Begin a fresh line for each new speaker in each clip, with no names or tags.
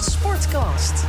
Sportcast.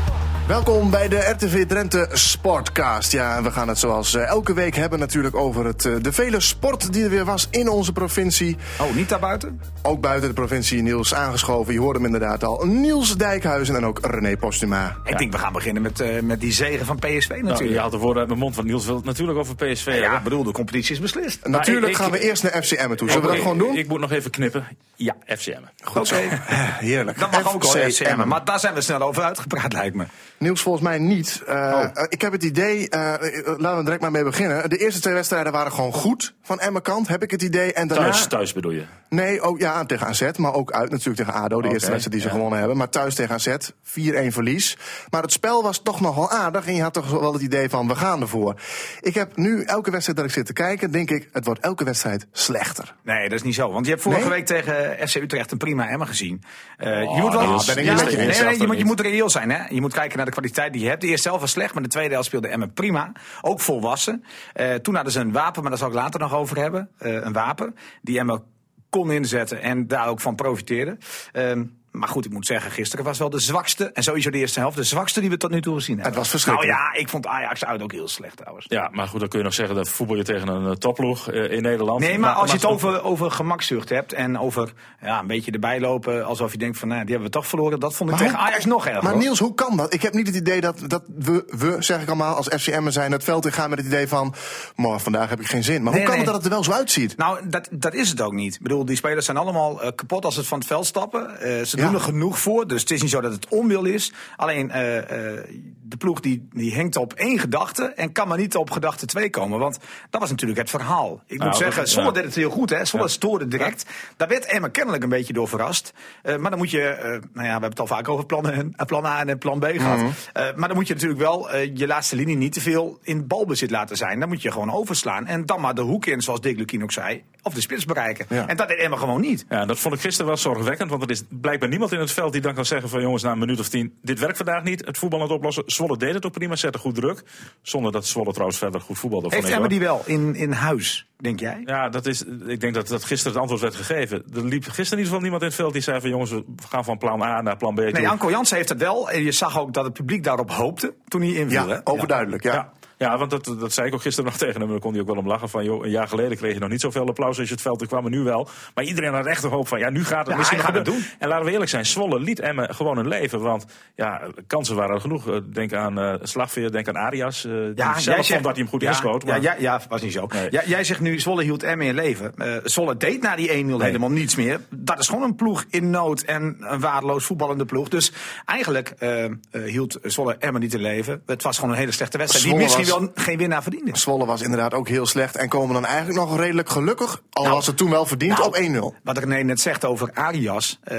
Welkom bij de RTV Drenthe Sportcast. Ja, en we gaan het zoals eh, elke week hebben natuurlijk over het, eh, de vele sport die er weer was in onze provincie.
Oh, niet daarbuiten?
Ook buiten de provincie Niels aangeschoven. Je hoorde hem inderdaad al. Niels Dijkhuizen en ook René Postuma.
Ik denk, we gaan beginnen met, eh, met die zegen van PSV natuurlijk.
Nou, je haalt de woorden uit mijn mond, want Niels wil het natuurlijk over PSV
ja,
hebben.
ik bedoel, de competitie is beslist.
Natuurlijk
ik-
gaan we eerst naar FCM toe. Zullen we dat
Ik-
gewoon doen?
Ik moet nog even knippen. Ja, FCM.
Goed zo.
Eh, Heerlijk.
Dat mag ook wel
FCM.
FCM, maar daar zijn we snel over uitgepraat, lijkt me.
Niels, volgens mij niet. Eh,
Oh.
eh, Ik heb het idee, eh, eh, laten we direct maar mee beginnen. De eerste twee wedstrijden waren gewoon goed van Emmen kant, heb ik het idee. En daarna...
Thuis, thuis bedoel je.
Nee, ook ja, tegen AZ, maar ook uit natuurlijk tegen ADO. De eerste wedstrijd die ze
ja.
gewonnen hebben. Maar thuis tegen AZ, 4-1 verlies. Maar het spel was toch nogal aardig. En je had toch wel het idee van, we gaan ervoor. Ik heb nu elke wedstrijd dat ik zit te kijken, denk ik... het wordt elke wedstrijd slechter.
Nee, dat is niet zo. Want je hebt vorige
Nee?
week tegen FC Utrecht een prima Emma gezien. Eh,
Oh,
je moet wel...
Niels,
ben ik
Ja,
niet
nee,
met je
nee,
eens,
nee,
dat
je, moet, je
niet.
moet reëel zijn. Hè? Je moet kijken naar de kwaliteit die je hebt. De eerste helft was slecht, maar de tweede helft speelde Emmen prima. Ook volwassen. Eh, toen hadden ze een wapen, maar daar zal ik later nog over hebben. Eh, een wapen die Emmen kon inzetten en daar ook van profiteerde. Ehm, maar goed, ik moet zeggen, gisteren was wel de zwakste... en sowieso de eerste helft, de zwakste die we tot nu toe gezien hebben.
was verschrikkelijk.
Nou ja, ik vond Ajax uit ook heel slecht trouwens.
Ja, maar goed, dan kun je nog zeggen dat voetbal je tegen een eh, topploeg eh, in Nederland.
Nee, maar als je het over, over gemakzucht hebt en over ja, een beetje erbij lopen, alsof je denkt van nou, die hebben we toch verloren, dat vond ik
Maar
tegen
hoe-
Ajax nog erger.
Maar
hoor.
Niels, hoe kan dat? Ik heb niet het idee dat, dat we, we, zeg ik allemaal, als FCM'er zijn... het veld in gaan met het idee van, morgen vandaag heb ik geen zin. Maar
Nee,
hoe kan
nee.
het dat het er wel zo uitziet?
Nou, dat, dat is het ook niet. Ik bedoel, die spelers zijn allemaal eh, kapot als ze van het veld stappen. Eh, ze
Ja.
doen er genoeg voor, dus het is niet zo dat het onwil is. Alleen eh, eh, de ploeg die, die hangt op één gedachte en kan maar niet op gedachte twee komen. Want dat was natuurlijk het verhaal. Ik
Nou,
moet
dat-
zeggen, Zwolle
ja.
deed het heel goed, hè. Zwolle stoorde direct. Daar werd Emma kennelijk een beetje door verrast. Eh, maar dan moet je, eh, nou ja, we hebben het al vaak over plan, en- eh, plan A en eh, plan B gehad.
Mhm.
Eh, maar dan moet je natuurlijk wel eh, je laatste linie niet te veel in balbezit laten zijn. Dan moet je gewoon overslaan. En dan maar de hoek in, zoals Dick Lukien ook zei. Of de spits bereiken.
Ja.
En dat deed Emma gewoon niet.
Ja, dat vond ik gisteren wel zorgwekkend, want er is blijkbaar niemand in het veld die dan kan zeggen van jongens, na een minuut of tien, dit werkt vandaag niet, het voetbal aan het oplossen. Zwolle deed het ook prima, zette goed druk, zonder dat Zwolle trouwens verder goed voetbalde. vond
Heeft
ik,
Emma
hoor.
die wel in, in huis, denk jij?
Ja, dat is, ik denk dat, dat gisteren het antwoord werd gegeven. Er liep gisteren in ieder geval niemand in het veld die zei van jongens, we gaan van plan A naar plan B. toe.
Nee, Anko Jansen heeft het wel. En je zag ook dat het publiek daarop hoopte toen hij inviel. hè?
Ja, overduidelijk, ja.
Ja. Ja, want dat, dat zei ik ook gisteren nog tegen hem. Daar kon hij ook wel om lachen. Van, joh, een jaar geleden kreeg je nog niet zoveel applaus als je het veld in kwam. Maar nu wel. Maar iedereen had echt de hoop van, ja, nu gaat het
Ja,
misschien
hij gaat het
gebeuren. En laten we eerlijk zijn, Zwolle liet Emmen gewoon hun leven. Want ja, kansen waren er genoeg. Eh, Denk aan eh, Slagveer, denk aan Arias. eh, die zelf vond dat hij hem goed
ja,
inschoot. Maar,
Ja, ja, ja, was niet zo.
Nee.
Ja, jij zegt nu, Zwolle hield Emmen in leven. Eh, Zwolle deed na die 1-0 helemaal niets meer. Dat is gewoon een ploeg in nood en een waardeloos voetballende ploeg. Dus eigenlijk eh, eh, hield Zwolle Emmen niet in leven. Het was gewoon een hele slechte wedstrijd. Die
Zwolle
misschien
was-
wel geen winnaar verdiende.
Zwolle was inderdaad ook heel slecht en komen dan eigenlijk nog redelijk gelukkig, al was het toen wel verdiend,
Nou,
op 1-0.
Wat René net zegt over Arias, eh,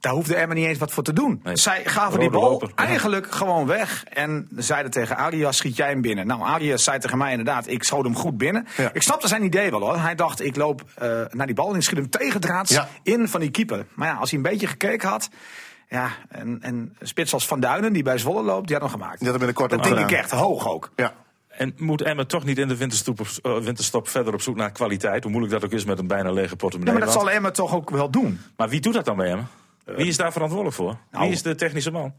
daar hoefde Emmen niet eens wat voor te doen.
Nee.
Zij gaven
Rode
die bal
loper.
eigenlijk gewoon weg en zeiden tegen Arias, schiet jij hem binnen. Nou, Arias zei tegen mij inderdaad, ik schoot hem goed binnen.
Ja.
Ik snapte zijn idee wel hoor. Hij dacht, ik loop eh, naar die bal en ik schiet hem tegendraads
Ja.
in van die keeper. Maar ja, als hij een beetje gekeken had... Ja, en, en een spits als Van Duinen, die bij Zwolle loopt, die had hem gemaakt.
Die had hem binnenkort
dat
ook
denk ik
gedaan.
echt, hoog ook.
Ja.
En moet Emmen toch niet in de winterstop, op- eh, winterstop verder op zoek naar kwaliteit? Hoe moeilijk dat ook is met een bijna lege
Ja,
portemonnee.
maar dat
Want-
zal Emmen toch ook wel doen.
maar wie doet dat dan bij Emmen? Wie is daar verantwoordelijk voor?
nou-
Wie is de technische man?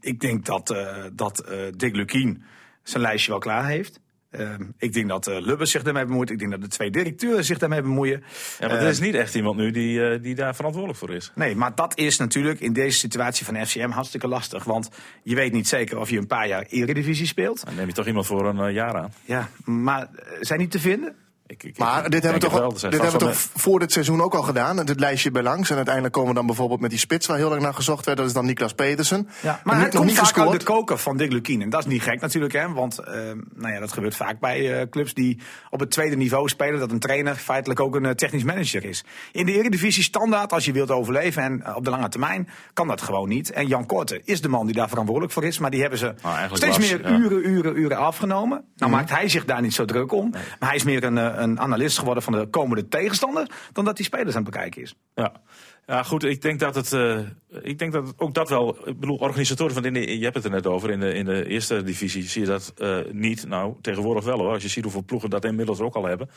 Ik denk dat, eh, dat eh, Dick Lukien zijn lijstje wel klaar heeft. Ehm, ik denk dat eh Lubbers zich daarmee bemoeit. Ik denk dat de twee directeuren zich daarmee bemoeien.
Ja, maar
Eh,
er is niet echt iemand nu die, eh, die daar verantwoordelijk voor is.
Nee, maar dat is natuurlijk in deze situatie van FCM hartstikke lastig. Want je weet niet zeker of je een paar jaar Eredivisie speelt.
Dan neem je toch iemand voor een eh, jaar aan.
Ja, maar eh, zijn die te vinden?
Ik, ik-
Maar
ik
dit
denk
hebben we
het
toch,
wel. Er
dit
zijn
hebben we
vast wel
toch voor dit seizoen ook al gedaan. Dit lijstje bij langs. En uiteindelijk komen we dan bijvoorbeeld met die spits waar heel erg naar gezocht werd. Dat is dan Niklas Petersen.
Ja,
Nog
maar hij
niet- nog
komt
niet
vaak
gescoord.
uit de koker van Dick Lukien. En dat is niet gek natuurlijk, hè? want eh, nou ja, dat gebeurt vaak bij eh, clubs die op het tweede niveau spelen. Dat een trainer feitelijk ook een eh, technisch manager is. In de Eredivisie standaard, als je wilt overleven en eh, op de lange termijn, kan dat gewoon niet. En Jan Korte is de man die daar verantwoordelijk voor is. Maar die hebben ze
eigenlijk
steeds
Lars,
meer
ja.
uren, uren, uren afgenomen. Nou maakt hij zich daar niet zo druk om. Maar hij is meer een, eh, een analist geworden van de komende tegenstander dan dat hij spelers aan het bekijken is.
Ja. Ja, goed, ik denk dat het. eh, ik denk dat het ook dat wel. Ik bedoel, organisatoren van. In de, je hebt het er net over. In de, in de eerste divisie zie je dat eh, niet. Nou, tegenwoordig wel hoor. Als je ziet hoeveel ploegen dat inmiddels ook al hebben.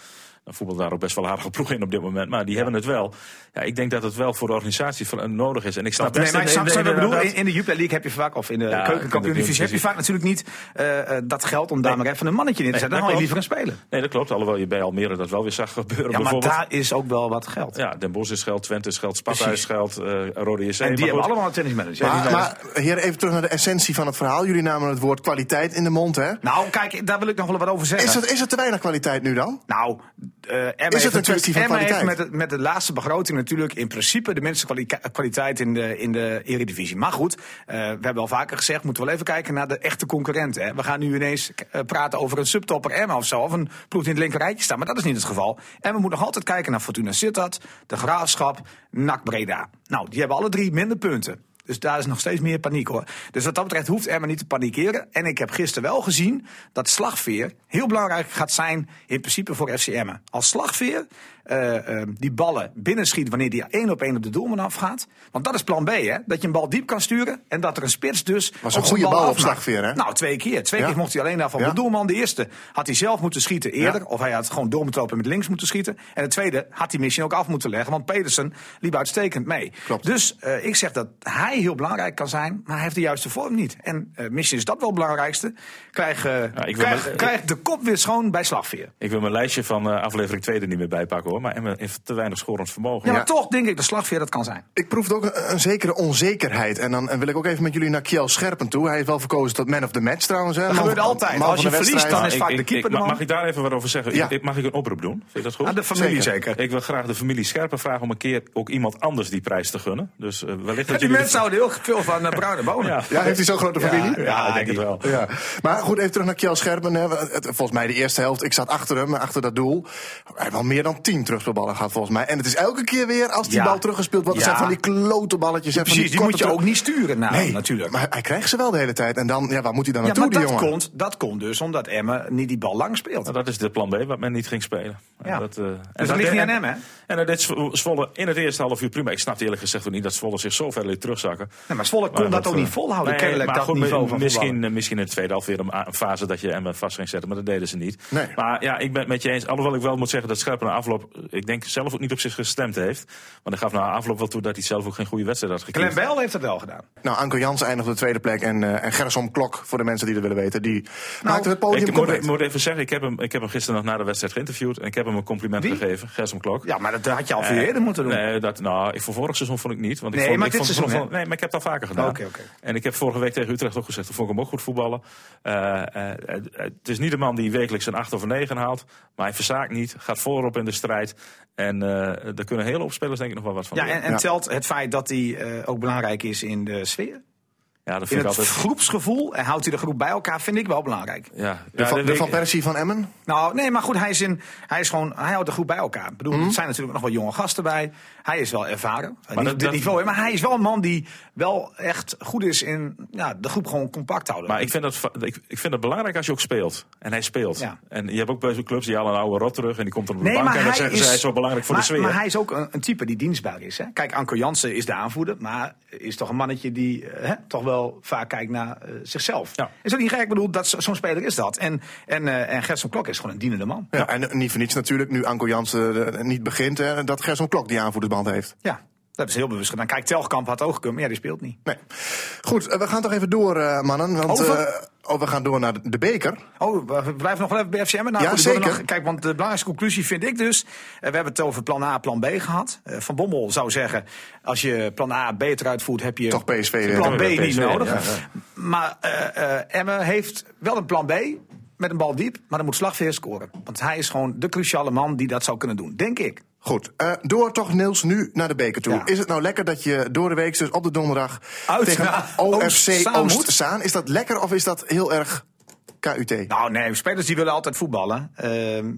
Dan voetbal daar ook best wel aardige ploegen in op dit moment. Maar die hebben het wel. Ja, ik denk dat het wel voor de organisatie van- nodig is. En ik snap
Nee,
best
maar ik snap
dat-
wat ik bedoel.
inderdaad-
In, in de Jupiler League heb je vaak, of in de
Ja,
keukenkampioen-divisie, heb je
precies.
vaak natuurlijk niet eh, eh, dat geld om daar maar even een mannetje in te
Nee,
zetten. Dan
dat
hou je liever gaan spelen.
Nee, dat klopt. Alhoewel je bij Almere dat wel weer zag gebeuren.
Ja, maar
bijvoorbeeld.
daar is ook wel wat geld.
Ja, Den Bosch is geld, Twente is geld, Sparta
Precies.
is geld, eh, Rode JC.
En
Maar
die hebben
goed,
allemaal een tennismanager.
Maar, maar heer, even terug naar de essentie van het verhaal. Jullie namen het woord kwaliteit in de mond, hè?
Nou, kijk, daar wil ik nog wel wat over zeggen.
Is het, is het te weinig kwaliteit nu dan?
Nou, eh Emma heeft
een
natuurlijk-
kwestie van
Emma heeft
kwaliteit?
met, de, met de laatste begroting natuurlijk in principe de minste kwali- kwaliteit in de, in de Eredivisie. Maar goed, eh, we hebben al vaker gezegd, moeten we wel even kijken naar de echte concurrenten. Hè. We gaan nu ineens eh, praten over een subtopper Emma of zo, of een ploeg die in het linkerrijtje staat. Maar dat is niet het geval. En we moeten nog altijd kijken naar Fortuna Sittard, de Graafschap, NAC Breda. Nou, die hebben alle drie minder punten. Dus daar is nog steeds meer paniek hoor. Dus wat dat betreft hoeft Emma niet te panikeren. En ik heb gisteren wel gezien dat slagveer heel belangrijk gaat zijn in principe voor FC Emmen. Als slagveer eh, eh, die ballen binnenschiet wanneer die één op één op de doelman afgaat. Want dat is plan B hè. Dat je een bal diep kan sturen en dat er een spits dus...
een
ook zo'n
goede bal op
afmaakt.
slagveer, hè?
Nou, twee keer. Twee
Ja.
keer mocht hij alleen af van
Ja.
de doelman. De eerste had hij zelf moeten schieten eerder.
Ja.
Of hij had gewoon door moeten lopen en met links moeten schieten. En de tweede had hij misschien ook af moeten leggen. Want Pedersen liep uitstekend mee.
Klopt.
Dus eh, ik zeg dat hij heel belangrijk kan zijn, maar hij heeft de juiste vorm niet. En eh, misschien is dat wel het belangrijkste. Krijg, eh,
wil
krijg,
maar-
krijg de kop weer schoon bij slagveer.
Ik wil mijn lijstje van eh, aflevering 2 er niet meer bij pakken hoor. Maar Emmen heeft te weinig scorend vermogen.
Ja,
Ja.
maar toch denk ik dat slagveer dat kan zijn.
Ik proefde ook een, een zekere onzekerheid. En dan en wil ik ook even met jullie naar Kjell Scherpen toe. Hij heeft wel verkozen tot man of the match trouwens. Hè. Man
gebeurt
van-
altijd.
man
Als
van
je
de
verliest,
wedstrijd.
dan is vaak de keeper de
mag,
man.
mag ik daar even wat over zeggen?
Ja.
Ik- Ik, mag ik een oproep doen? Vind je dat goed?
Aan de familie zeker.
Ik wil graag de familie Scherpen vragen om een keer ook iemand anders die prijs te gunnen. Dus eh, wellicht dat
Die
jullie...
mensen houden heel veel van eh, bruine bonen.
Ja.
Ja, heeft hij zo'n grote familie?
Ja,
Ja,
ik denk
die-
het wel.
Ja, maar goed, even terug naar Kjell Scherpen. hè. Het- het- Volgens mij de eerste helft, ik zat achter hem, achter dat doel. Hij heeft wel meer dan tien terugspelballen gehad volgens mij. En het is elke keer weer, als die
Ja.
bal teruggespeeld wordt,
Ja.
zijn van die klote balletjes. hè, van
Precies, die
korte
moet je
terug-
ook niet sturen nou,
Nee,
natuurlijk.
maar hij krijgt ze wel de hele tijd. En dan, ja, waar moet hij dan
ja,
naartoe,
maar
die
dat
jongen?
komt, dat komt dus omdat Emmen niet die bal lang speelt.
Nou, dat is de plan B, wat men niet ging spelen. En
Ja.
eh, en
Dus dat ligt niet aan hem, hè?
En dat deed Zwo- Zwolle in het eerste half uur prima. Ik snapte eerlijk gezegd ook niet dat Zwolle zich zo ver liet terugzakken.
Nee, maar Zwolle kon
Maar
dat, ook
eh,
niet volhouden,
nee,
kennelijk,
maar
dat
goed,
niveau
mi-
van
misschien,
voetballen.
eh, misschien in het tweede half weer een, a- een fase dat je hem vast ging zetten. Maar dat deden ze niet.
Nee.
Maar ja, ik ben het met je eens. Alhoewel ik wel moet zeggen dat Scherpen na afloop... eh, ik denk zelf ook niet op zich gestemd heeft. Want hij gaf na afloop wel toe dat hij zelf ook geen goede wedstrijd had
Glenn
gekregen.
Bell heeft dat wel gedaan.
Nou, Anko Jansen eindigt op de tweede plek. En, eh en Gersom Klok, voor de mensen die dat willen weten,
Nou,
die maakte het podium
Ik moet,
compleet.
ik moet even zeggen, ik heb, hem, ik heb hem gisteren nog na de wedstrijd geïnterviewd. En ik heb hem een compliment
Wie?
gegeven. Gersom Klok.
Ja, maar dat had je al veel
Eh,
eerder moeten doen.
Nee, dat, nou, ik, voor vorig seizoen vond ik niet. Want ik
Nee,
vond,
maar
ik
dit
vond-
seizoen, Oh,
vond- nee, maar ik heb dat vaker gedaan.
Oké, oké.
En ik heb vorige week tegen Utrecht ook gezegd, toen vond ik hem ook goed voetballen. Eh, eh, eh, het is niet de man die wekelijks een 8 of een 9 haalt. Maar hij verzaakt niet, gaat voorop in de strijd. En eh daar kunnen hele opspelers denk ik nog wel wat van
Ja,
leren.
en, en
Ja.
telt het feit dat hij eh, ook belangrijk is in de sfeer?
ja, dat
In
vind
het
ik altijd...
groepsgevoel en houdt hij de groep bij elkaar, vind ik wel belangrijk.
Ja, ja,
de, van,
dat
de
weet
Van
ik-
Persie van Emmen?
Nou, nee, maar goed, hij, is in, hij, is gewoon, hij houdt de groep bij elkaar. Ik bedoel,
Mhm.
er zijn natuurlijk nog wel jonge gasten bij. Hij is wel ervaren, maar
dat-
dit
dat-
niveau. hè, Maar hij is wel een man die wel echt goed is in ja, de groep gewoon compact houden.
Maar ik vind, dat, va- ik, ik vind dat belangrijk als je ook speelt. En hij speelt.
Ja.
En je hebt ook bij zo'n clubs die halen een oude rot terug. En die komt dan op de
Nee,
bank.
maar
En dan
hij
zeggen ze,
is-
hij is wel belangrijk voor
maar,
de sfeer.
Maar hij is ook een, een type die dienstbaar is. Hè? Kijk, Anko Jansen is de aanvoerder, maar is toch een mannetje die eh, hè, toch wel vaak kijkt naar eh, zichzelf.
Ja.
Is dat niet gek? Ik bedoel, dat, zo- zo'n speler is dat. En, en, eh, en Gerson Klok is gewoon een dienende man.
Ja. En niet voor niets natuurlijk, nu Anko Jansen eh, niet begint, hè, dat Gersom Klok die aanvoerdersband heeft.
Ja, dat is heel bewust gedaan. Kijk, Telkamp had ook gekund, maar ja, die speelt niet.
Nee. Goed, eh, we gaan toch even door, eh, mannen. Want
Over?
eh, oh, we gaan door naar de- de beker.
Oh, we we blijven nog wel even bij FCM. Nou,
Ja,
goed, ik wil er
zeker.
nog- kijk, want de belangrijkste conclusie vind ik dus... eh, we hebben het over plan A, plan B gehad. Eh, Van Bommel zou zeggen, als je plan A beter uitvoert... heb je
Toch PSV weer.
plan B
Ja,
niet
PSV,
nodig.
ja,
Maar eh, eh, Emme heeft wel een plan B... Met een bal diep, maar dan moet Slagveer scoren. Want hij is gewoon de cruciale man die dat zou kunnen doen, denk ik.
Goed, eh, door toch Niels nu naar de beker toe.
Ja.
Is het nou lekker dat je door de week, dus op de donderdag...
Uit
tegen
naar
OFC
Oost-Zaan moet?
Oost-Zaan, is dat lekker of is dat heel erg KUT?
Nou nee, spelers die willen altijd voetballen. Ehm,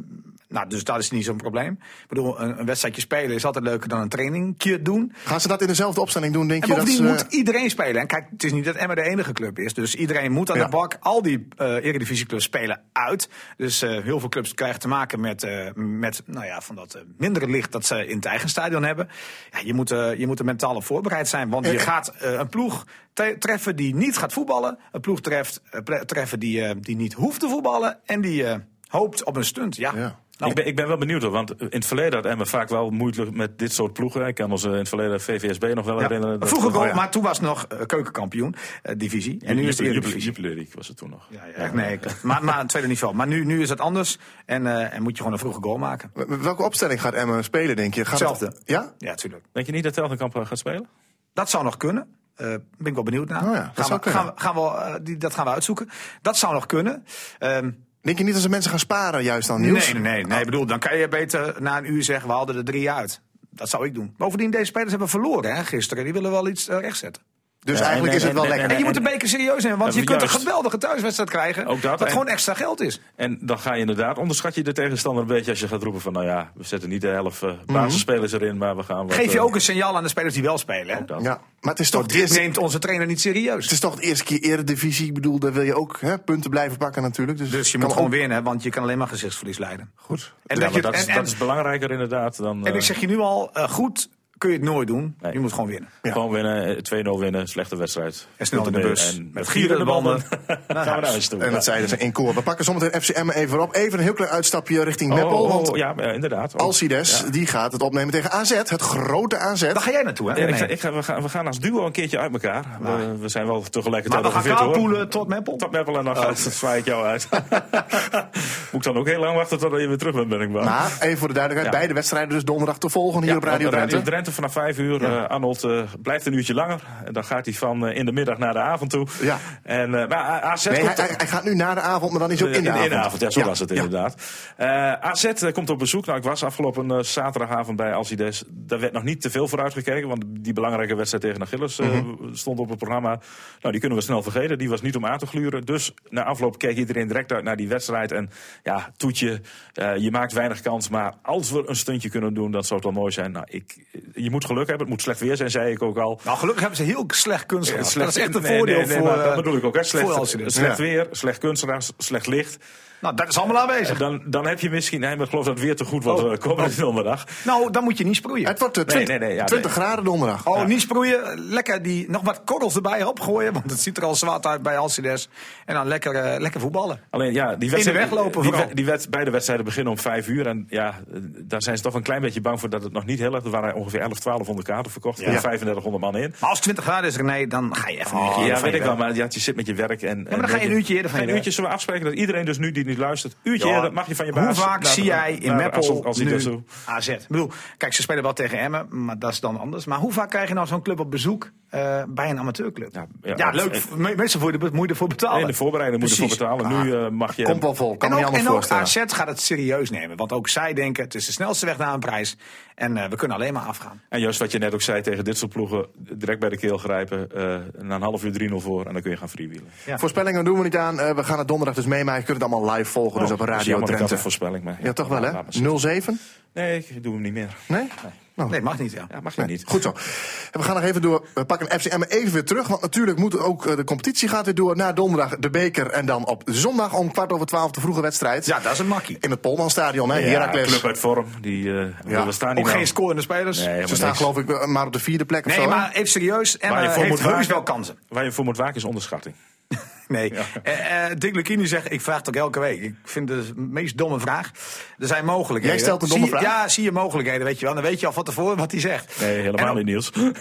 Nou, dus dat is niet zo'n probleem. Ik bedoel, een, een wedstrijdje spelen is altijd leuker dan een trainingje doen.
Gaan ze dat in dezelfde opstelling doen, denk
En
je? Dat eh,
bovendien
ze,
moet iedereen spelen. En kijk, het is niet dat Emmen de enige club is. Dus iedereen moet aan
Ja.
de bak. Al die eh eredivisieclubs spelen uit. Dus eh, heel veel clubs krijgen te maken met, eh, met nou ja, van dat eh, mindere licht dat ze in het eigen stadion hebben. Ja, je, moet, eh, je moet er mentaal op voorbereid zijn. Want je
Eh.
gaat eh, een ploeg te- treffen die niet gaat voetballen. Een ploeg treft, eh, pre- treffen die, eh, die niet hoeft te voetballen. En die eh, hoopt op een stunt. Ja.
Ja.
Nou,
Ik, ben, ik ben wel benieuwd hoor, want in het verleden had Emmen vaak wel moeite met dit soort ploegen. Ik kan ons eh, in het verleden VVSB nog wel
ja.
herinneren. dat-
Vroeger
Oh,
wel,
ja.
maar toen was het nog eh, keukenkampioen, eh, divisie. En nu is het
Jupiler-
eredivisie.
Jupiler League was het toen nog.
Ja, ja, nee, ik- maar, maar het tweede niveau. Maar nu, nu is het anders en, eh, en moet je gewoon een vroege goal maken.
eh, welke opstelling gaat Emmen spelen, denk je? Gaat het-
Hetzelfde.
ja?
Ja, tuurlijk.
Denk je niet dat Telgenkamp eh, gaat spelen?
Dat zou nog kunnen. Eh ben ik wel benieuwd naar.
Oh ja, dat
gaan
zou
we,
kunnen.
gaan we, gaan we, eh, die, dat gaan we uitzoeken. Dat zou nog kunnen. Ehm,
Denk je niet dat ze mensen gaan sparen juist aan
nee,
nieuws?
nee, nee. nee. Ik bedoel, dan kan je beter na een uur zeggen, we haalden er drie uit. Dat zou ik doen. Bovendien, deze spelers hebben verloren hè, gisteren. Die willen wel iets eh, rechtzetten.
Dus
Ja,
eigenlijk
en-
is het wel
en- en-
lekker.
En je moet de beker serieus nemen, want
Ja,
je kunt een
juist.
geweldige thuiswedstrijd krijgen.
Ook dat,
dat
en-
gewoon extra geld is.
En dan ga je inderdaad, onderschat je de tegenstander een beetje als je gaat roepen van nou ja, we zetten niet de helft eh, basisspelers erin, maar we gaan wat,
Mhm. Geef je
eh,
ook een signaal aan de spelers die wel spelen. hè.
dat.
ja. Maar het is toch
Want
het
Dit
eerste,
neemt onze trainer niet serieus.
het is toch de eerste keer eredivisie. Ik bedoel, daar wil je ook hè, punten blijven pakken natuurlijk. Dus,
Dus je
kan
moet
ook-
gewoon winnen, want je kan alleen maar gezichtsverlies leiden.
Goed.
En,
Ja,
dat je,
maar dat, is,
en, en-
dat is belangrijker inderdaad dan
en
eh,
ik zeg je nu al, eh, goed kun je het nooit doen.
Nee.
Je moet gewoon winnen.
Ja.
gewoon winnen, eh, 2-0 winnen, slechte wedstrijd.
En snel in de
Punten
bus.
mee en
met gierende banden. Naar
Gaan we naar
huis.
huis toe.
En dat zeiden ze in koor. We pakken zometeen FCM even op. Even een heel klein uitstapje richting
Oh,
Meppel.
oh,
want
ja, maar, eh, inderdaad. ook.
Alcides, die gaat het opnemen tegen AZ. Het grote AZ.
Daar ga jij naartoe, hè?
Ja, ik
Nee.
ga- ik ga- we, gaan, we gaan als duo een keertje uit elkaar. We, we zijn wel
maar
tegelijkertijd
we gaan
ongeveer te horen.
kaalpoelen tot Meppel.
Tot Meppel en
Oh.
dan gaat, zwaai ik jou uit. Moet ik dan ook heel lang wachten tot je weer terug bent, ben ik bang.
Maar, even voor de duidelijkheid,
Ja.
beide wedstrijden dus donderdag te volgen hier
Ja,
op Radio Drenthe.
vanaf 5 uur. Eh, Arnold eh, blijft een uurtje langer. En dan gaat hij van eh, in de middag naar de avond toe.
Ja.
En, eh, maar A- AZ
Nee, hij,
komt
hij- hij gaat nu na de avond, maar dan is hij ook in de, avond.
ja, zo was het inderdaad. Eh, AZ komt op bezoek. Nou, ik was afgelopen eh, zaterdagavond bij Alcides. Daar werd nog niet te veel voor uitgekeken, want die belangrijke wedstrijd tegen Achilles eh,
Mhm.
stond op het programma. Nou, die kunnen we snel vergeten. Die was niet om aan te gluren. Dus na afloop keek iedereen direct uit naar die wedstrijd. En ja, toetje, eh, je maakt weinig kans. Maar als we een stuntje kunnen doen, dat zou het wel mooi zijn. Nou, ik, je moet geluk hebben. Het moet slecht weer zijn, zei ik ook al.
Nou, gelukkig hebben ze heel slecht kunst.
Ja,
gehad.
slecht-
dat is echt een
nee,
voordeel
nee, nee,
voor...
maar dat
eh,
bedoel ik ook. Hè.
voor
Slecht,
Alcides.
slecht
Ja.
weer, slecht kunstenaars, slecht licht.
Nou, dat is allemaal aanwezig.
Dan, dan heb je misschien, nee, maar ik geloof dat het weer te goed wordt
Oh.
eh, komende donderdag.
Nou, dan moet je niet sproeien.
Het wordt eh,
Nee,
20,
nee, nee, ja,
20 graden donderdag.
Oh, niet sproeien. Lekker die, nog wat korrels erbij opgooien. Want het ziet er al zwart uit bij Alcides. En dan lekker, eh, lekker voetballen.
Alleen ja, die wedstrijd,
weg lopen
die,
vooral.
die wed- beide wedstrijden beginnen om vijf uur. En ja, eh, daar zijn ze toch een klein beetje bang voor dat het nog niet heel erg. Er waren ongeveer 11, 1200 kaarten verkocht. Er
Ja.
3500 man in.
Maar als het 20 graden is, René, dan ga je even een uurtje eerder
Oh, ja,
van
weet
je
ik wel. Maar ja, je zit met je werk. En,
dan
en
ga je een uurtje eerder van
Ga je
je
Een uurtje zullen we afspreken dat iedereen dus nu die niet luistert. Uurtje
Ja,
eerder mag je van je
Hoe
baas.
vaak
naar-
zie jij in
naar-
Meppel
als- als die
nu
dat zo-
AZ? Ik bedoel, kijk, ze spelen wel tegen Emmen, maar dat is dan anders. Maar hoe vaak krijg je nou zo'n club op bezoek eh, bij een amateurclub? Ja,
Ja, ja, dat-
leuk.
en-
me- Meestal voor je er- moet je ervoor betalen.
Nee, de voorbereiding moet je ervoor
Precies. Ah.
betalen. Nu eh, mag je...
Komt wel vol, kan
en
me
ook,
niet
en
anders
ook
voorstellen.
AZ gaat het serieus nemen. Want ook zij denken, het is de snelste weg naar een prijs. En eh, we kunnen alleen maar afgaan.
En juist wat je net ook zei tegen dit soort ploegen, direct bij de keel grijpen. eh na een half uur 3-0 voor en dan kun je gaan freewheelen.
Ja.
Voorspellingen doen we niet aan. Eh, we gaan het donderdag dus meemaken. Je kunt het allemaal live volgen, dus op
Oh, dat is
Radio
jammer, ik had
Drenthe.
een voorspelling. Maar
Ja, toch wel,
laat-
hè?
laat maar zitten.
07?
Nee, ik doe hem niet meer.
Nee? Nou,
Nee, mag niet, ja.
Ja, mag je niet.
Goed zo. En we gaan nog even door. We pakken FCM even weer terug. Want natuurlijk moet ook eh, de competitie gaat weer door. Na donderdag de beker. En dan op zondag om kwart over twaalf de vroege wedstrijd.
Ja, dat is een makkie.
In het Polmanstadion, hè?
Ja,
Heracles.
club uit vorm. Die, eh
Ja.
We staan niet
Ook
nou.
geen scorende spelers.
Nee, helemaal
Ze staan
niks.
geloof ik eh, maar op de vierde plek of
Nee,
zo. hè?
maar even serieus.
Waar je
Emmen
voor
heeft
moet waken-
heus wel kansen.
Waar je voor moet waken is onderschatting.
Nee. Eh, eh, Dick Lukini zegt, ik vraag het ook elke week. Ik vind het de meest domme vraag. Er zijn mogelijkheden.
Jij stelt een domme
Zie je-
vraag?
Ja, zie je mogelijkheden, weet je wel. Dan weet je al van tevoren wat hij zegt.
Nee, helemaal
En-
niet, Niels. nee,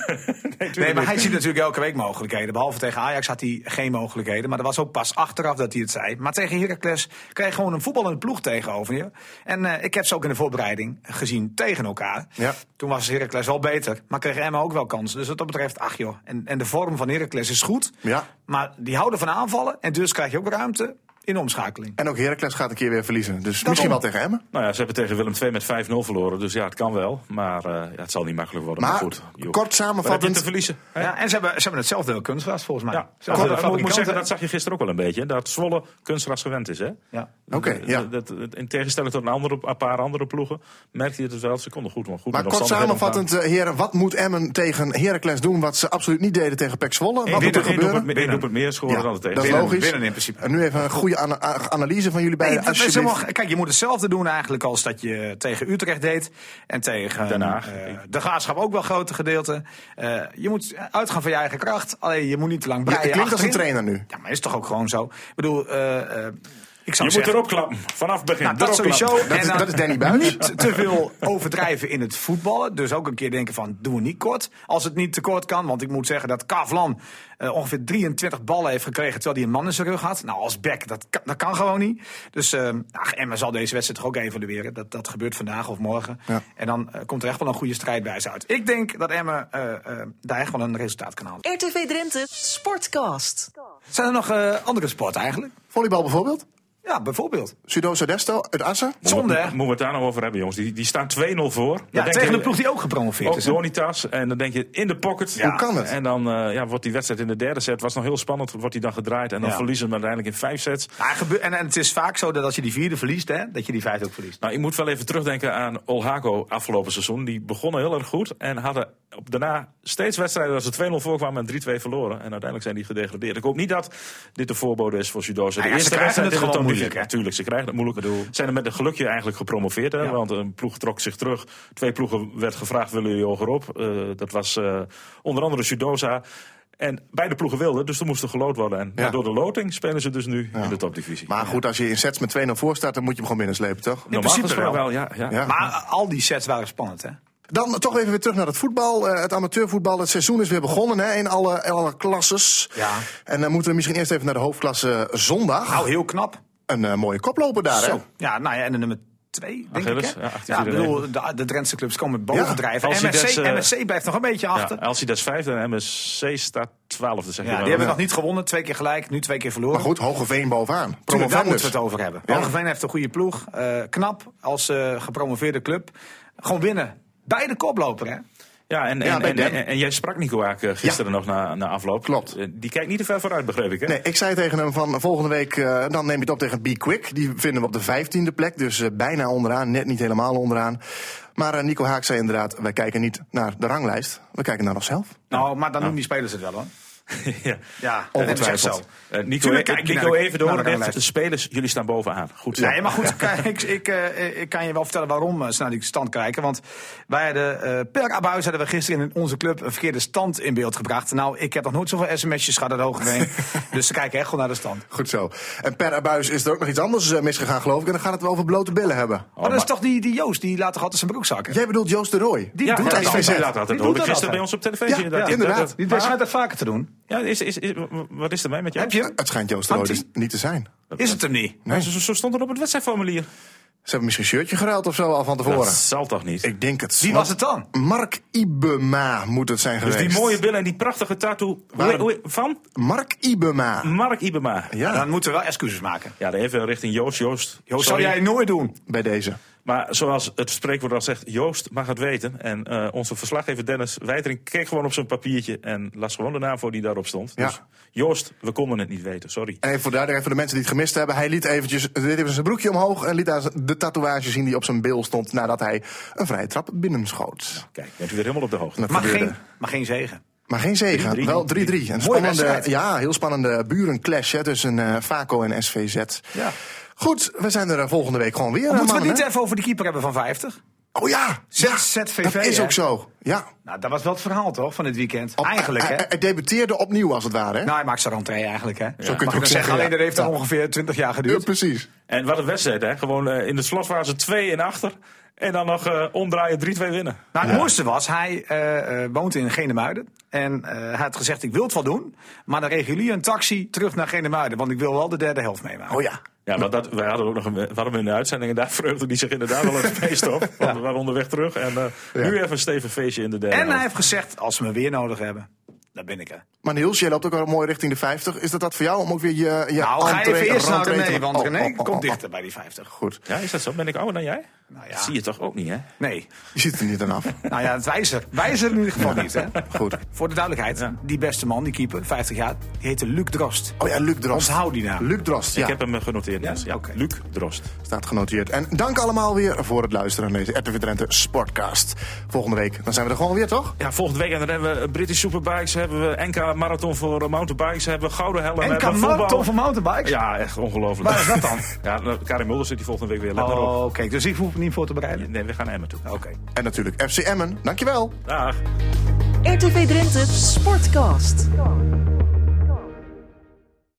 Nee, maar hij ziet natuurlijk elke week mogelijkheden. Behalve tegen Ajax had hij geen mogelijkheden. Maar dat was ook pas achteraf dat hij het zei. Maar tegen Heracles krijg je gewoon een voetballende ploeg tegenover je. En eh, ik heb ze ook in de voorbereiding gezien tegen elkaar.
Ja.
Toen was Heracles wel beter. Maar kreeg Emma ook wel kansen. Dus wat dat betreft, ach joh. En, en de vorm van Heracles is goed.
Ja.
Maar die houden van aanvallen. En dus krijg je ook ruimte. in de omschakeling.
En ook Heracles gaat een keer weer verliezen. Dus misschien wel tegen Emmen.
Nou ja, ze hebben tegen Willem II met 5-0 verloren. Dus ja, het kan wel. Maar eh, ja, het zal niet makkelijk worden. Maar,
Maar
goed. joh.
kort
Wat heb je te
samenvattend.
verliezen?
Ja. en ze hebben, ze hebben hetzelfde heel kunstgras volgens mij.
Ja,
Ze hebben de
ik moet- moet
fabrikanten-
zeggen, dat zag je gisteren ook wel een beetje. hè, Dat Zwolle kunstgras gewend is. Hè?
ja.
Oké, ja.
Dat, dat- in tegenstelling tot een, andere, een paar andere ploegen merkte je het wel. Ze konden goed, goed
Maar
met
kort
omstandigheden
samenvattend, eh, heren, wat moet Emmen tegen Heracles doen wat ze absoluut niet deden tegen PEC Zwolle? Wat
omgaan. Eén
moet er
doelpunt- één
gebeuren?
doelpunt- één doelpunt meer scoren
Ja,
dan de
dat
tegen.
is
eh, Winnen-
logisch.
winnen in principe.
En nu even een goede ana- a- analyse van jullie beiden,
Nee, dat is
alsjeblieft.
helemaal- kijk, je moet hetzelfde doen eigenlijk als dat je tegen Utrecht deed. En tegen
Den Haag.
eh, de graafschap ook wel grote gedeelte. Eh, je moet uitgaan van je eigen kracht. Alleen je moet niet te lang breien.
Je klinkt als een
achterin.
trainer nu.
Ja, maar is toch ook gewoon zo. Ik bedoel, eh, eh, ik zou
Je moet
zeggen,
erop klappen. Vanaf het begin.
nou, dat
erop klappen.
sowieso.
Dat is-
dan
dat is Danny Buis.
Niet te veel overdrijven in het voetballen. Dus ook een keer denken van, doen we niet kort. Als het niet te kort kan. Want ik moet zeggen dat Kavlan eh, ongeveer 23 ballen heeft gekregen... terwijl hij een man in zijn rug had. Nou, als back, dat, kan- dat kan gewoon niet. Dus eh, ach, Emma zal deze wedstrijd toch ook evalueren. Dat, dat gebeurt vandaag of morgen.
Ja.
En dan eh, komt er echt wel een goede strijdwijze uit. Ik denk dat Emma eh, eh, daar echt wel een resultaat kan halen.
RTV Drenthe Sportcast.
Zijn er nog eh, andere sporten eigenlijk?
Volleybal bijvoorbeeld.
Ja, bijvoorbeeld.
Sudo Sodesto uit Assen.
Zonde, hè?
Moeten we het daar nou over hebben, jongens? Die, die staan 2-0 voor. Dan
Ja,
denk
tegen
je-
eh,
de ploeg die ook gepromoveerd
oh,
Ook
is. hè?
Donitas. En dan denk je in de pocket.
Hoe kan het?
En dan eh, ja, wordt die wedstrijd in de derde set. Was nog heel spannend. Wordt die dan gedraaid. En dan
Ja.
verliezen we hem uiteindelijk in vijf sets.
Ja, gebe- Nou, en, en het is vaak zo dat als je die vierde verliest, hè, dat je die vijfde ook verliest.
Nou, ik moet wel even terugdenken aan Olhago afgelopen seizoen. Die begonnen heel erg goed. En hadden op daarna steeds wedstrijden dat ze 2-0 voorkwamen en 3-2 verloren. En uiteindelijk zijn die gedegradeerd. Ik hoop niet dat dit de voorbode is voor Sudoze.
Nou ja, ze krijgen het gewoon moeilijk, hè?
Natuurlijk, ze krijgen het moeilijk. Zijn er met een gelukje eigenlijk gepromoveerd. Hè?
Ja.
Want een ploeg trok zich terug. Twee ploegen werd gevraagd, willen jullie hogerop? Eh, dat was eh, onder andere Sudoza. En beide ploegen wilden, dus er moest er geloot worden. En
Ja.
ja, door de loting spelen ze dus nu in de topdivisie.
Maar goed, als je in sets met 2-0 voor staat, dan moet je hem gewoon binnenslepen, toch?
Normaal
principe
gesproken
wel.
ja, ja.
Ja.
Maar eh, al die sets waren spannend, hè?
Dan toch even weer terug naar het voetbal. Eh, het amateurvoetbal, het seizoen is weer begonnen hè, in alle, alle klasses.
Ja.
En dan moeten we misschien eerst even naar de hoofdklasse zondag.
Nou, heel knap.
Een eh, mooie koploper daar, hè?
Zo. Ja, nou ja, en de nummer twee, denk
Achilles,
ik, hè?
ja,
Ja,
18,
ik bedoel, de, de Drentse clubs komen bovendrijven.
als
MSC,
die des, eh,
MSC blijft nog een beetje achter.
Ja, als hij dat vijfde en MSC staat twaalfde, zeg
Ja,
je
die
dan.
hebben
Ja.
nog niet gewonnen. Twee keer gelijk, nu twee keer verloren.
Maar goed, Hogeveen bovenaan.
Tuurlijk, daar
Promovendus.
moeten we het over hebben.
Ja.
Hogeveen heeft een goede ploeg. eh, knap als eh, gepromoveerde club. Gewoon winnen. Bij de koploper, hè?
Ja, en, en,
Ja, bij
en,
Dem.
en- en jij sprak Nico Aak eh, gisteren nog na, na afloop.
Klopt.
Eh, Die kijkt niet te ver vooruit, begreep ik. Hè?
Nee, ik zei tegen hem van volgende week, eh, dan neem je het op tegen Be Quick. Die vinden we op de vijftiende plek, dus eh, bijna onderaan, net niet helemaal onderaan. Maar eh, Nico Haak zei inderdaad, wij kijken niet naar de ranglijst, we kijken naar onszelf.
Nou, maar dan doen die spelers het wel, hoor.
ja.
Ja, dat is echt
Ongetwijfeld.
zo.
Eh, Nico,
Tuurlijk
eh,
kijk je
Nico
naar de- naar
even door.
de
Echt,
ranglijst.
de spelers, jullie staan bovenaan. Goed zo.
Nee, maar goed, kijk, ik, ik, eh, ik kan je wel vertellen waarom eh, ze naar die stand kijken. Want wij hadden, eh, per abuis hadden we gisteren in onze club een verkeerde stand in beeld gebracht. Nou, ik heb nog nooit zoveel sms'jes gehad uit Hogeveen. dus ze kijken echt gewoon naar de stand.
Goed zo. En per abuis is er ook nog iets anders eh, misgegaan, geloof ik. En dan gaat het wel over blote billen hebben.
maar dat is toch die, die Joost, die laat toch altijd zijn broek zakken?
Jij bedoelt Joost de Roy.
Die
ja,
doet
ja,
dat
ja,
altijd.
inderdaad, dat
Die
hoorde
doet dat
ik gisteren
altijd.
bij ons op televisie.
Ja,
inderdaad.
ja, inderdaad.
Die die schijnt dat vaker te doen.
Ja, is, is, is- wat is er mee met jou?
Heb je hem?
Het schijnt Joost de Roy
Hangt
dus niet te zijn.
Is het hem niet?
Nee. Zo, zo stond het op het wedstrijdformulier.
Ze hebben misschien een shirtje geruild of zo al van tevoren.
Dat zal toch niet?
Ik denk het.
Wie was het dan?
Mark Ibema moet het zijn
dus
geweest.
die mooie billen en die prachtige tattoo
Waarom?
hoe- hoe- van
Mark Ibema.
Mark Ibema.
Ja, Oh,
Dan moeten we wel excuses maken.
Ja, dan even richting Joost. Joost,
Joost, zou
sorry.
jij nooit doen?
bij deze.
Maar zoals het spreekwoord al zegt, Joost mag het weten. En eh, onze verslaggever Dennis Wijtering keek gewoon op zijn papiertje en las gewoon de naam voor die daarop stond.
Ja.
Dus Joost, we konden het niet weten, sorry.
En even voor de duidelijkheid voor de mensen die het gemist hebben. Hij liet eventjes deed even zijn broekje omhoog en liet daar de tatoeage zien die op zijn bil stond nadat hij een vrije trap binnenschoot.
Kijk, bent u weer helemaal op de hoogte.
Dat
Maar
gebeurde.
geen, maar geen zegen.
maar geen zegen.
3-3.
Wel 3-3. Een spannende,
wedstrijd.
ja, heel spannende burenclash hè, tussen eh Vaco en SVZ.
Ja.
Goed, we zijn er eh, volgende week gewoon weer.
Moeten we
mannen,
het niet
hè?
even over de keeper hebben van 50?
Oh ja, ja,
ZVV,
dat is
hè?
ook zo. Oh, Ja.
Nou, dat was wel het verhaal toch van dit weekend?
Op-
Eigenlijk,
hij,
hè?
hij- hij debuteerde opnieuw als het ware. Hè?
Nou, hij maakt zijn rentree eigenlijk, hè? Zo
je het ook
Mag ik dat
zeggen,
zeggen? Alleen
ja.
dat heeft dan
Ja.
ongeveer 20 jaar
ja,
geduurd.
precies.
En wat een wedstrijd, hè? Gewoon eh, in de slotfase 2 en achter. En dan nog eh, omdraaien 3-2 winnen.
Nou, het mooiste was, hij eh, eh, woont in Genemuiden. En eh, hij had gezegd, ik wil het wel doen. Maar dan regulier een taxi terug naar Genemuiden. Want ik wil wel de derde helft meemaken.
Oh ja.
Ja, maar dat, wij hadden ook nog een, we hadden hem in de uitzending en daar vreugde die zich inderdaad wel een feest op. Want we waren onderweg terug en eh, nu even een stevig feestje in de derde.
En hij
helft.
heeft gezegd, als ze me weer nodig hebben. Daar ben ik, hè.
Maar Niels, jij loopt ook al mooi richting de 50. Is dat dat voor jou om ook weer je. je
nou, ga
entree-
even eerst naar
rentree te-
René, want
Oh,
René
oh, oh, oh,
komt
oh.
dichter bij die 50.
Goed.
Ja, is dat zo? Ben ik ouder dan jij?
Nou
Dat
ja,
zie je toch ook niet, hè?
nee.
Je ziet er niet aan af.
Nou ja, het wijzer. Wijzer in ieder geval niet, hè.
Goed.
Voor de duidelijkheid, die beste man, die keeper, 50 jaar, die heette Luc Drost.
Oh ja, Luc Drost.
Onthoud die naam.
Luc Drost, ja.
Ik heb hem eh, genoteerd, Niels. Ja,
Oké.
Luc Drost.
Staat genoteerd. En dank allemaal weer voor het luisteren naar deze RTV Drenthe Sportcast. Volgende week, dan zijn we er gewoon weer, toch?
Ja, volgende week en dan hebben we eh, British Superbikes, hebben we NK Marathon voor eh, mountainbikes, hebben we Gouden Helm,
En
hebben we voetbal.
Kamarton van mountainbikes?
Ja, echt ongelooflijk.
Waar is dat dan?
Ja, nou, Karin Mulder zit die volgende week weer. Let maar op.
Oh, kijk, dus ik hoef me niet voor te bereiden.
Nee, we gaan naar Emmen toe. Nou,
Oké.
En natuurlijk FC Emmen. Dankjewel.
Dag.
RTV Drenthe Sportcast.